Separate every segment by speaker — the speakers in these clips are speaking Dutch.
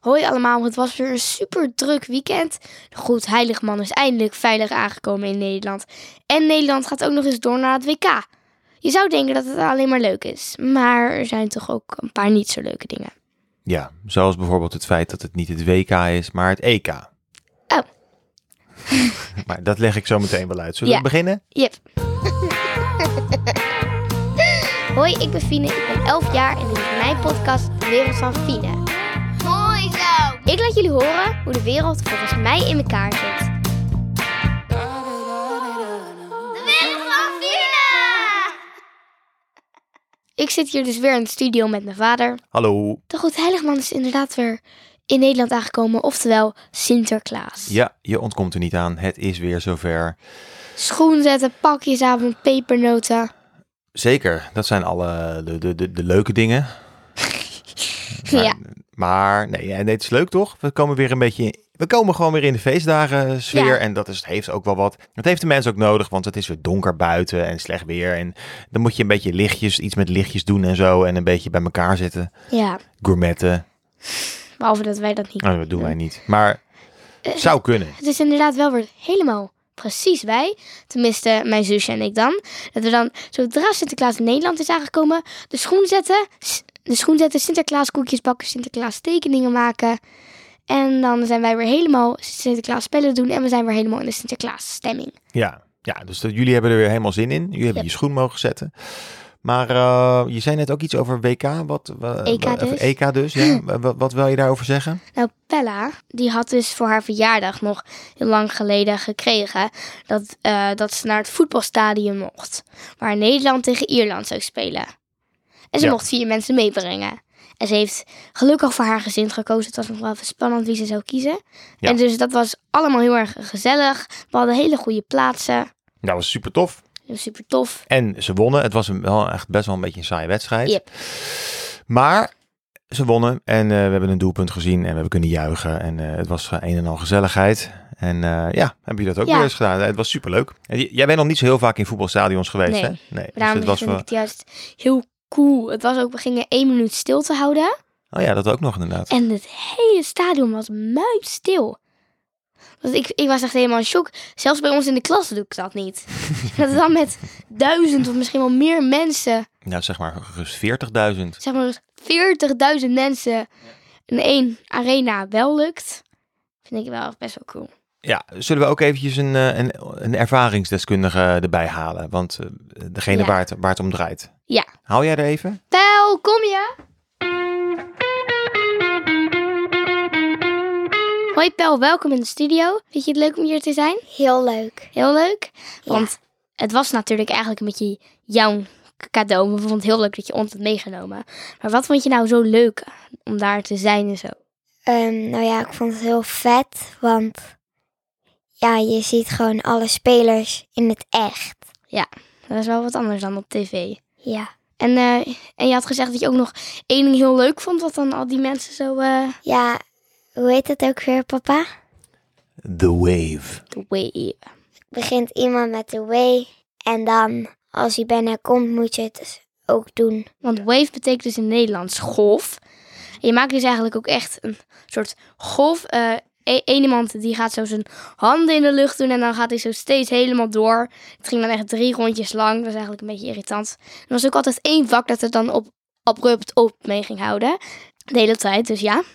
Speaker 1: Hoi allemaal, het was weer een super druk weekend. De Goed Heiligman is eindelijk veilig aangekomen in Nederland. En Nederland gaat ook nog eens door naar het WK. Je zou denken dat het alleen maar leuk is, maar er zijn toch ook een paar niet zo leuke dingen.
Speaker 2: Ja, zoals bijvoorbeeld het feit dat het niet het WK is, maar het EK.
Speaker 1: Oh.
Speaker 2: maar dat leg ik zo meteen wel uit. Zullen
Speaker 1: Ja.
Speaker 2: we beginnen?
Speaker 1: Yep. Hoi, ik ben Fine, ik ben 11 jaar en dit is mijn podcast De Wereld van Fine.
Speaker 3: Mooi zo!
Speaker 1: Ik laat jullie horen hoe de wereld volgens mij in elkaar zit.
Speaker 3: De wereld van Fina!
Speaker 1: Ik zit hier dus weer in de studio met mijn vader.
Speaker 2: Hallo.
Speaker 1: De Goed Heiligman is inderdaad weer in Nederland aangekomen, oftewel Sinterklaas.
Speaker 2: Ja, je ontkomt er niet aan. Het is weer zover.
Speaker 1: Schoen zetten, pakjesavond, pepernoten.
Speaker 2: Zeker, dat zijn alle de, de, de, de leuke dingen. Maar,
Speaker 1: Ja.
Speaker 2: Maar nee, ja, nee, het is leuk toch? We komen weer een beetje. We komen gewoon weer in de feestdagen sfeer.
Speaker 1: Ja.
Speaker 2: En dat is, heeft ook wel wat. Dat heeft de mensen ook nodig, want het is weer donker buiten en slecht weer. En dan moet je een beetje lichtjes, iets met lichtjes doen en zo. En een beetje bij elkaar zitten.
Speaker 1: Ja,
Speaker 2: Gourmetten.
Speaker 1: behalve dat wij dat niet
Speaker 2: Nou, dat doen wij niet. Maar
Speaker 1: Eh.
Speaker 2: zou kunnen.
Speaker 1: Het is inderdaad wel weer helemaal precies wij, tenminste mijn zusje en ik dan, dat we dan zodra Sinterklaas in Nederland is aangekomen, de schoen zetten, s- de schoen zetten, Sinterklaas koekjes bakken, Sinterklaas tekeningen maken. En dan zijn wij weer helemaal Sinterklaas spellen doen en we zijn weer helemaal in de Sinterklaas stemming.
Speaker 2: Ja, ja dus dat, jullie hebben er weer helemaal zin in. Jullie hebben
Speaker 1: Yep.
Speaker 2: je schoen mogen zetten. Maar eh, je zei net ook iets over WK. Wat, wa-
Speaker 1: EK
Speaker 2: wa- of
Speaker 1: dus.
Speaker 2: EK dus, ja. Wa- wa- wat, wil je daarover zeggen?
Speaker 1: Nou, Pella, die had dus voor haar verjaardag nog heel lang geleden gekregen dat, eh, dat ze naar het voetbalstadion mocht. Waar Nederland tegen Ierland zou spelen. En ze
Speaker 2: Ja.
Speaker 1: mocht vier mensen meebrengen. En ze heeft gelukkig voor haar gezin gekozen. Het was nog wel even spannend wie ze zou kiezen.
Speaker 2: Ja.
Speaker 1: En dus dat was allemaal heel erg gezellig. We hadden hele goede plaatsen.
Speaker 2: Dat was super tof.
Speaker 1: Super tof.
Speaker 2: En ze wonnen. Het was een, wel echt best wel een beetje een saaie wedstrijd.
Speaker 1: Yep.
Speaker 2: Maar ze wonnen en eh, we hebben een doelpunt gezien en we hebben kunnen juichen. En eh, het was eh, een en al gezelligheid. En eh, ja, hebben jullie dat ook
Speaker 1: Ja.
Speaker 2: weer eens gedaan? Het was superleuk. En j- jij bent nog niet zo heel vaak in voetbalstadions geweest,
Speaker 1: Nee.
Speaker 2: hè? Nee. dus
Speaker 1: Maar daarom
Speaker 2: het was
Speaker 1: vind
Speaker 2: wel...
Speaker 1: ik het juist heel cool. Het was ook, we gingen één minuut stil te houden.
Speaker 2: Oh ja, dat ook nog inderdaad.
Speaker 1: En het hele stadion was muisstil. Want ik, ik was echt helemaal in shock. Zelfs bij ons in de klas doe ik dat niet. dat is dan met duizend of misschien wel meer mensen,
Speaker 2: Nou, zeg maar gerust 40.000.
Speaker 1: zeg maar 40.000 mensen, in één arena wel lukt. Vind ik wel best wel cool.
Speaker 2: Ja, zullen we ook eventjes een, eh, een, een ervaringsdeskundige erbij halen? Want eh, degene
Speaker 1: Ja.
Speaker 2: waar, het, waar het om draait.
Speaker 1: Ja.
Speaker 2: Hou jij er even?
Speaker 1: Wel, kom je? Hoi Pel, welkom in de studio. Vind je het leuk om hier te zijn?
Speaker 3: Heel leuk.
Speaker 1: Heel leuk. Want het was natuurlijk eigenlijk een beetje jouw k- cadeau. We vonden het heel leuk dat je ons had meegenomen. Maar wat vond je nou zo leuk om daar te zijn en zo?
Speaker 3: Ehm, nou ja, ik vond het heel vet, want ja, je ziet gewoon alle spelers in het echt.
Speaker 1: Dat is wel wat anders dan op tv.
Speaker 3: Ja.
Speaker 1: En, eh, en je had gezegd dat je ook nog één ding heel leuk vond, wat dan al die mensen zo... eh,
Speaker 3: Ja, hoe heet het ook weer, papa?
Speaker 2: The Wave.
Speaker 1: de wave.
Speaker 3: Begint iemand met de way en dan, als hij bijna komt, moet je het dus ook doen.
Speaker 1: Want wave betekent dus in het Nederlands golf. En je maakt dus eigenlijk ook echt een soort golf. Eh e- één iemand die gaat zo zijn handen in de lucht doen en dan gaat hij zo steeds helemaal door. Het ging dan echt drie rondjes lang. Dat was eigenlijk een beetje irritant. Er was ook altijd één vak dat het dan op, abrupt op mee ging houden. De hele tijd, dus ja. Dat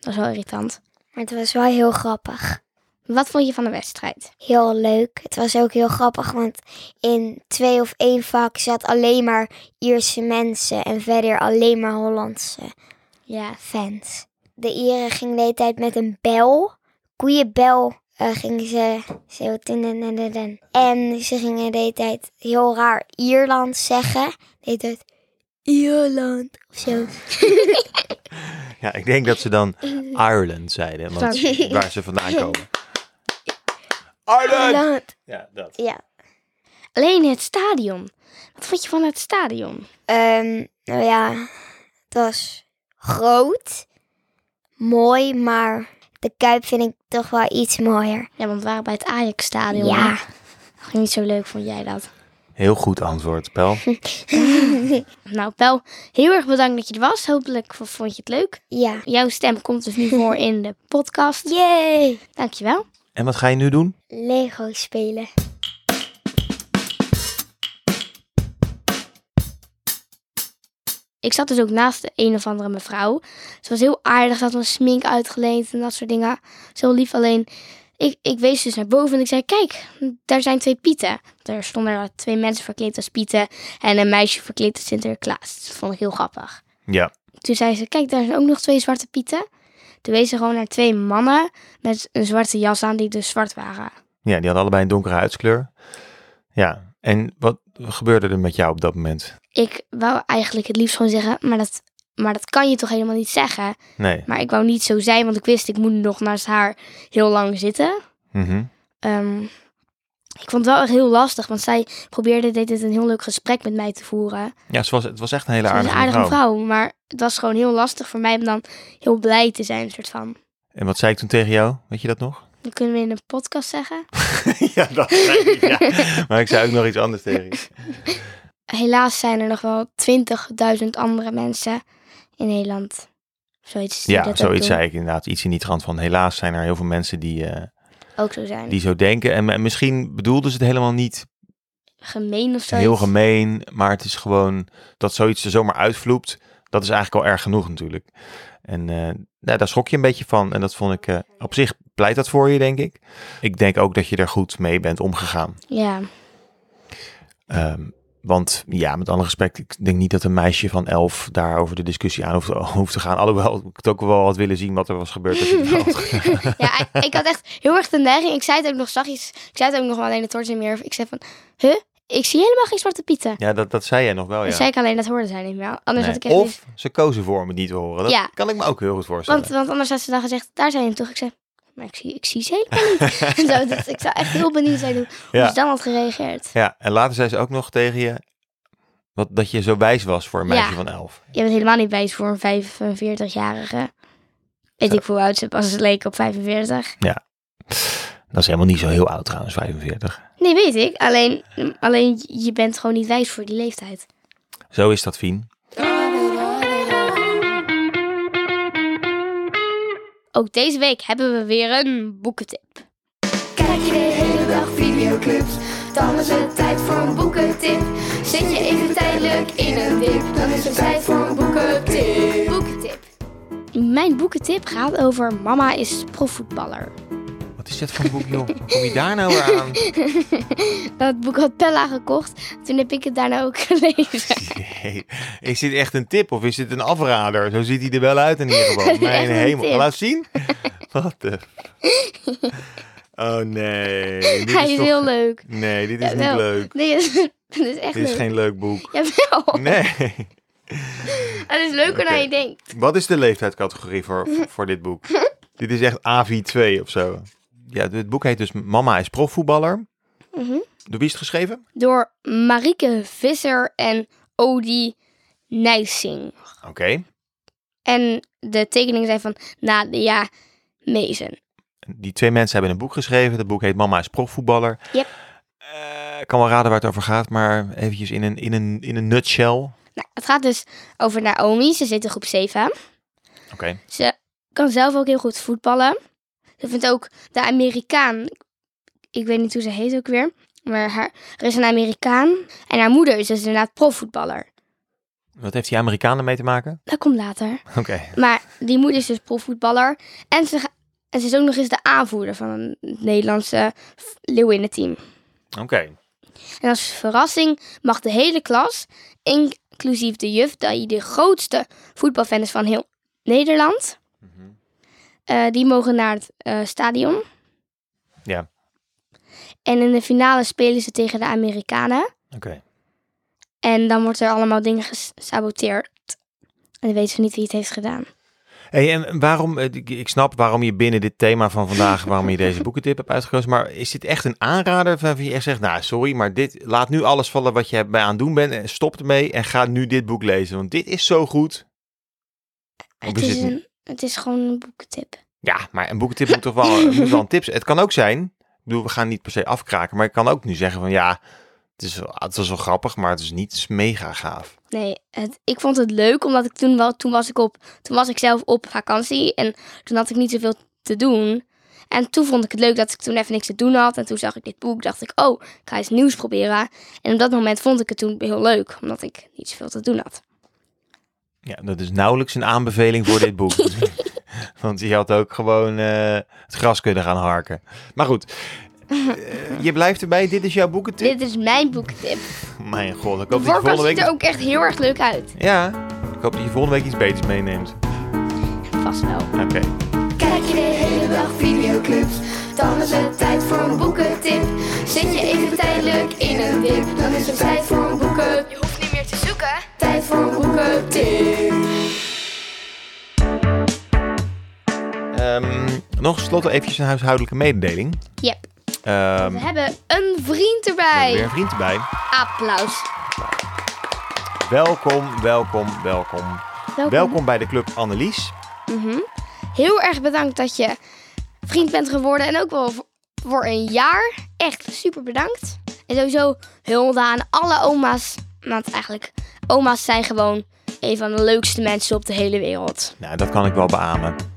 Speaker 1: was wel irritant.
Speaker 3: Maar het was wel heel grappig.
Speaker 1: Wat vond je van de wedstrijd?
Speaker 3: heel leuk. Het was ook heel grappig, want in twee of één vak zat alleen maar Ierse mensen en verder alleen maar Hollandse
Speaker 1: Ja.
Speaker 3: fans. De Ieren gingen de hele tijd met een bel, koeienbel, eh, gingen ze zo... dun, dun, dun, dun, dun. En ze gingen de hele tijd heel raar Ierland zeggen. De hele tijd Ierland of zo.
Speaker 2: Ja, ik denk dat ze dan Ireland zeiden, want
Speaker 3: Sorry.
Speaker 2: waar ze vandaan komen. Ireland!
Speaker 3: Ierland.
Speaker 2: Ja, dat.
Speaker 3: Ja.
Speaker 1: Alleen het stadion. Wat vond je van het stadion?
Speaker 3: Ehm, nou ja, het was groot, mooi, maar de Kuip vind ik toch wel iets mooier.
Speaker 1: Ja, want we waren bij het Ajax-stadion.
Speaker 3: Ja.
Speaker 1: Dat ging niet zo leuk, vond jij dat?
Speaker 2: Heel goed antwoord, Pel.
Speaker 1: Nou, Pel, heel erg bedankt dat je er was. Hopelijk v- vond je het leuk.
Speaker 3: ja.
Speaker 1: Jouw stem komt dus nu voor in de podcast.
Speaker 3: Yay!
Speaker 1: Dankjewel.
Speaker 2: En wat ga je nu doen?
Speaker 3: Lego spelen.
Speaker 1: Ik zat dus ook naast de een of andere mevrouw. Ze was heel aardig, ze had een smink uitgeleend en dat soort dingen. Zo lief, alleen ik, ik wees dus naar boven en ik zei, kijk, daar zijn twee pieten. Er stonden er twee mensen verkleed als pieten en een meisje verkleed als Sinterklaas. Dat vond ik heel grappig.
Speaker 2: Ja,
Speaker 1: Toen zei ze, kijk, daar zijn ook nog twee zwarte pieten. Toen wees ze gewoon naar twee mannen met een zwarte jas aan die dus zwart waren.
Speaker 2: ja die hadden allebei een donkere huidskleur. Ja, en wat gebeurde er met jou op dat moment?
Speaker 1: Ik wou eigenlijk het liefst gewoon zeggen, maar dat, maar dat kan je toch helemaal niet zeggen.
Speaker 2: Nee.
Speaker 1: Maar ik wou niet zo zijn, want ik wist, ik moet nog naast haar heel lang zitten.
Speaker 2: Mhm.
Speaker 1: Ehm, ik vond het wel echt heel lastig, want zij probeerde deed dit een heel leuk gesprek met mij te voeren.
Speaker 2: Ja, ze was, het was echt een hele
Speaker 1: Ze was
Speaker 2: aardige,
Speaker 1: een aardige
Speaker 2: vrouw.
Speaker 1: vrouw, maar het was gewoon heel lastig voor mij om dan heel blij te zijn, soort van.
Speaker 2: En wat zei ik toen tegen jou? Weet je dat nog?
Speaker 1: Dat kunnen we in een podcast zeggen.
Speaker 2: ja, dat zei ik, ja. Maar ik zei ook nog iets anders tegen je.
Speaker 1: Helaas zijn er nog wel 20.000 andere mensen in Nederland. Zoiets. die
Speaker 2: Ja,
Speaker 1: dat
Speaker 2: zoiets
Speaker 1: ook doen,
Speaker 2: zei ik inderdaad. Iets in die trant van helaas zijn er heel veel mensen die, eh,
Speaker 1: Ook zo zijn.
Speaker 2: die zo denken. En, en misschien bedoelden ze het helemaal niet
Speaker 1: Gemeen of zo.
Speaker 2: heel gemeen. Maar het is gewoon dat zoiets er zomaar uitvloept. Dat is eigenlijk al erg genoeg natuurlijk. En eh, nou, daar schrok je een beetje van. En dat vond ik eh, op zich pleit dat voor je, denk ik. Ik denk ook dat je er goed mee bent omgegaan.
Speaker 1: Ja.
Speaker 2: Ehm, want ja, met alle respect, ik denk niet dat een meisje van elf daarover de discussie aan hoeft, hoeft te gaan. Alhoewel ik het ook wel had willen zien wat er was gebeurd. Als je het wel had gedaan.
Speaker 1: Ja, ik, ik had echt heel erg de neiging. Ik zei het ook nog zachtjes. Ik zei het ook nog wel alleen, het hoort ze niet meer. Ik zei van, huh? Ik zie helemaal geen zwarte pieten.
Speaker 2: ja, dat, dat zei jij nog wel, Oh ja.
Speaker 1: Dat zei ik alleen, dat hoorde zij niet meer. Anders
Speaker 2: Nee.
Speaker 1: had ik echt niet...
Speaker 2: Of ze kozen voor om het niet te horen. Dat
Speaker 1: Ja.
Speaker 2: kan ik me ook heel goed voorstellen.
Speaker 1: Want, want anders had ze dan gezegd, daar zijn ze toch. Ik zei, maar ik zie, ik zie ze helemaal niet. En zo, dus ik zou echt heel benieuwd zijn hoe hoe
Speaker 2: Ja.
Speaker 1: ze dan had gereageerd.
Speaker 2: Ja, en later zei ze ook nog tegen je wat, dat je zo wijs was voor een
Speaker 1: Ja.
Speaker 2: meisje van elf.
Speaker 1: Je bent helemaal niet wijs voor een 45-jarige. Weet ik hoe oud ze pas leek op 45.
Speaker 2: Dat is helemaal niet zo heel oud trouwens, 45.
Speaker 1: Nee, weet ik. Alleen, alleen je bent gewoon niet wijs voor die leeftijd.
Speaker 2: Zo is dat, Fien.
Speaker 1: Ook deze week hebben we weer een boekentip.
Speaker 4: Kijk je de hele dag videoclips? Dan is het tijd voor een boekentip. Zit je even tijdelijk in een dip? Dan is het tijd voor een boekentip. Boekentip.
Speaker 1: Mijn boekentip gaat over Mama is profvoetballer.
Speaker 2: Wat is dit voor een boek, joh? Kom je daar nou weer aan?
Speaker 1: Dat boek had Pella gekocht. Toen heb ik het daarna ook gelezen.
Speaker 2: Nee. Is dit echt een tip of is dit een afrader? Zo ziet hij er wel uit in ieder geval.
Speaker 1: is echt
Speaker 2: Mijn
Speaker 1: een
Speaker 2: hemel.
Speaker 1: tip.
Speaker 2: Laat zien. Wat de... Oh nee. Dit
Speaker 1: Hij is
Speaker 2: toch-
Speaker 1: heel leuk.
Speaker 2: Nee, dit is
Speaker 1: Jawel.
Speaker 2: niet leuk.
Speaker 1: Nee, dat is, dat is echt
Speaker 2: Dit is
Speaker 1: leuk. Oh.
Speaker 2: geen leuk boek.
Speaker 1: Jawel.
Speaker 2: Nee.
Speaker 1: Het is leuker
Speaker 2: Oké.
Speaker 1: dan je denkt.
Speaker 2: Wat is de leeftijdscategorie voor, voor dit boek? dit is echt AV2 of zo. Ja, het boek heet dus Mama is profvoetballer.
Speaker 1: Mhm.
Speaker 2: Door wie is het geschreven?
Speaker 1: Door Marieke Visser en Odie Nijsing.
Speaker 2: Oké.
Speaker 1: En de tekeningen zijn van Nadia Mezen.
Speaker 2: Die twee mensen hebben een boek geschreven. Dat boek heet Mama is profvoetballer.
Speaker 1: Yep.
Speaker 2: Eh, ik kan wel raden waar het over gaat, maar eventjes in een, in een, in een nutshell.
Speaker 1: Nou, het gaat dus over Naomi. Ze zit in groep 7.
Speaker 2: Oké.
Speaker 1: Ze kan zelf ook heel goed voetballen. Ze vindt ook de Amerikaan. Ik weet niet hoe ze heet ook weer. Maar haar, er is een Amerikaan. En haar moeder is dus inderdaad profvoetballer.
Speaker 2: Wat heeft die Amerikanen mee te maken?
Speaker 1: Dat komt later.
Speaker 2: Oké.
Speaker 1: Maar die moeder is dus profvoetballer. En ze, ga- en ze is ook nog eens de aanvoerder van het Nederlandse v- leeuwinnenteam.
Speaker 2: Oké.
Speaker 1: En als verrassing mag de hele klas, inclusief de juf, die de grootste voetbalfan is van heel Nederland,
Speaker 2: Mhm.
Speaker 1: Eh, die mogen naar het eh, stadion.
Speaker 2: Ja.
Speaker 1: En in de finale spelen ze tegen de Amerikanen.
Speaker 2: Oké.
Speaker 1: En dan wordt er allemaal dingen gesaboteerd. En dan weten ze niet wie het heeft gedaan.
Speaker 2: Hey, en waarom, eh, ik ik snap waarom je binnen dit thema van vandaag, waarom je deze boekentip hebt uitgekozen, maar is dit echt een aanrader van wie je echt zegt, nou sorry, maar dit, laat nu alles vallen wat je bij aan het doen bent, en stop ermee en ga nu dit boek lezen, want dit is zo goed. Of
Speaker 1: Het
Speaker 2: is
Speaker 1: is,
Speaker 2: het niet?
Speaker 1: een, het is gewoon een boekentip.
Speaker 2: Ja, maar een boekentip moet toch wel, moet wel een tip zijn. Het kan ook zijn, ik bedoel, we gaan niet per se afkraken, maar ik kan ook nu zeggen van ja, Het, is, wel- ah, het was wel grappig, maar het is niet mega gaaf.
Speaker 1: Nee, het, ik vond het leuk omdat ik toen wel, toen was ik op, toen was ik zelf op vakantie en toen had ik niet zoveel te doen. En toen vond ik het leuk dat ik toen even niks te doen had. En toen zag ik dit boek, dacht ik, oh, ik ga eens nieuws proberen. En op dat moment vond ik het toen heel leuk, omdat ik niet zoveel te doen had.
Speaker 2: Ja, dat is nauwelijks een aanbeveling voor dit boek. Want je had ook gewoon eh, het gras kunnen gaan harken. Maar goed, eh, je blijft erbij. Dit is jouw boekentip.
Speaker 1: Dit is mijn boektip.
Speaker 2: Mijn god, ik
Speaker 1: De
Speaker 2: hoop dat je
Speaker 1: voorkant
Speaker 2: volgende
Speaker 1: ziet
Speaker 2: week...
Speaker 1: er ook echt heel erg leuk uit.
Speaker 2: Ja, ik hoop dat je volgende week iets beters meeneemt.
Speaker 1: Vast wel.
Speaker 2: Oké.
Speaker 4: Kijk je de hele dag videoclips, dan is het tijd voor een boekentip. Zit je even tijdelijk in een dip, dan is het tijd voor een boeken. Je hoeft niet meer te zoeken. Tijd voor een boekentip.
Speaker 2: Ehm, nog slotte eventjes een huishoudelijke mededeling.
Speaker 1: Yep.
Speaker 2: Ehm,
Speaker 1: We
Speaker 2: we
Speaker 1: hebben een vriend
Speaker 2: hebben weer
Speaker 1: erbij.
Speaker 2: een vriend erbij.
Speaker 1: Applaus.
Speaker 2: Welkom, welkom, welkom.
Speaker 1: Welkom.
Speaker 2: Welkom bij de Club Annelies.
Speaker 1: Heel erg bedankt dat je vriend bent geworden. En ook wel voor- voor een jaar. Echt super bedankt. En sowieso Hulda en alle oma's. Want eigenlijk, oma's zijn gewoon een van de leukste mensen op de hele wereld.
Speaker 2: Nou, dat kan ik wel beamen.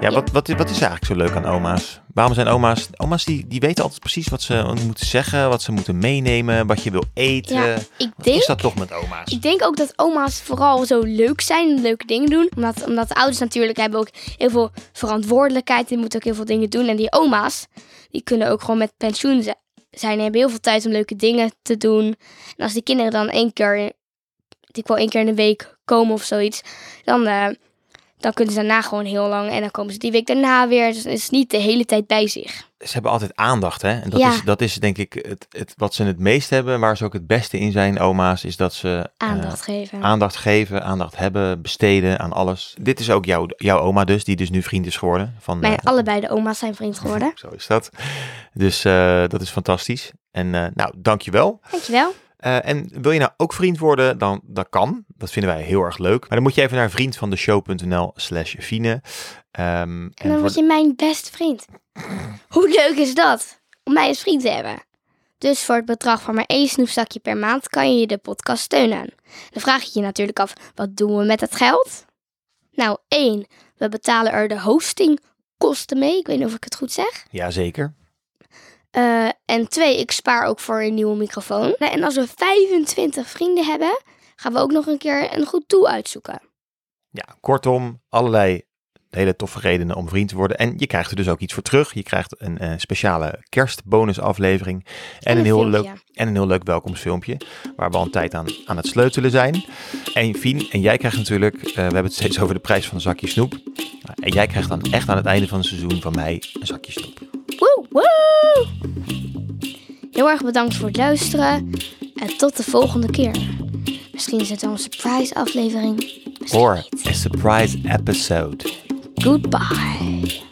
Speaker 2: Ja, wat, wat, wat is eigenlijk zo leuk aan oma's? Waarom zijn oma's... Oma's die, die weten altijd precies wat ze moeten zeggen, wat ze moeten meenemen, wat je wil eten.
Speaker 1: Ja,
Speaker 2: Wat
Speaker 1: ik denk,
Speaker 2: is dat toch met oma's?
Speaker 1: ik denk ook dat oma's vooral zo leuk zijn en leuke dingen doen. Omdat, omdat de ouders natuurlijk hebben ook heel veel verantwoordelijkheid. Die moeten ook heel veel dingen doen. En die oma's, die kunnen ook gewoon met pensioen ze- zijn. Die hebben heel veel tijd om leuke dingen te doen. En als die kinderen dan één keer, ik wel één keer in de week komen of zoiets. Dan, eh, dan kunnen ze daarna gewoon heel lang. En dan komen ze die week daarna weer. Dus het is niet de hele tijd bij zich.
Speaker 2: Ze hebben altijd aandacht, hè? En dat,
Speaker 1: Ja.
Speaker 2: is, dat is denk ik het, het, wat ze het meest hebben, waar ze ook het beste in zijn, oma's, is dat ze... eh,
Speaker 1: Aandacht geven.
Speaker 2: Aandacht geven, aandacht hebben, besteden aan alles. Dit is ook jouw, jouw oma dus, die dus nu vriend is geworden. Van,
Speaker 1: Mijn
Speaker 2: eh,
Speaker 1: allebei de oma's zijn vriend geworden.
Speaker 2: Zo is dat. Dus eh, dat is fantastisch. En eh nou, dankjewel.
Speaker 1: Dankjewel.
Speaker 2: Eh en wil je nou ook vriend worden, dan dat kan. Dat vinden wij heel erg leuk. Maar dan moet je even naar vriendvandeshow.nl slash Fine. Ehm,
Speaker 1: En dan
Speaker 2: voor-
Speaker 1: word je mijn beste vriend. Hoe leuk is dat? Om mij als vriend te hebben. Dus voor het bedrag van maar één snoepzakje per maand kan je de podcast steunen. Dan vraag je je natuurlijk af, wat doen we met dat geld? Nou, één, we betalen er de hostingkosten mee. Ik weet niet of ik het goed zeg.
Speaker 2: Jazeker.
Speaker 1: Eh, en twee, ik spaar ook voor een nieuwe microfoon. Nou, En als we 25 vrienden hebben, gaan we ook nog een keer een goed doel uitzoeken.
Speaker 2: Ja, kortom, allerlei hele toffe redenen om vriend te worden. En je krijgt er dus ook iets voor terug. Je krijgt een eh, speciale kerstbonusaflevering. En, een,
Speaker 1: een
Speaker 2: heel
Speaker 1: filmpje.
Speaker 2: leuk, en een heel leuk welkomstfilmpje. Waar we al een tijd aan, aan het sleutelen zijn. En Fien, en jij krijgt natuurlijk... eh, we hebben het steeds over de prijs van een zakje snoep. Nou, En jij krijgt dan echt aan het einde van het seizoen van mij een zakje snoep.
Speaker 1: Woe, woe! Heel erg bedankt voor het luisteren. En tot de volgende keer. Misschien is het wel een surprise aflevering. Misschien
Speaker 2: Or
Speaker 1: niet.
Speaker 2: a surprise episode.
Speaker 1: Goodbye.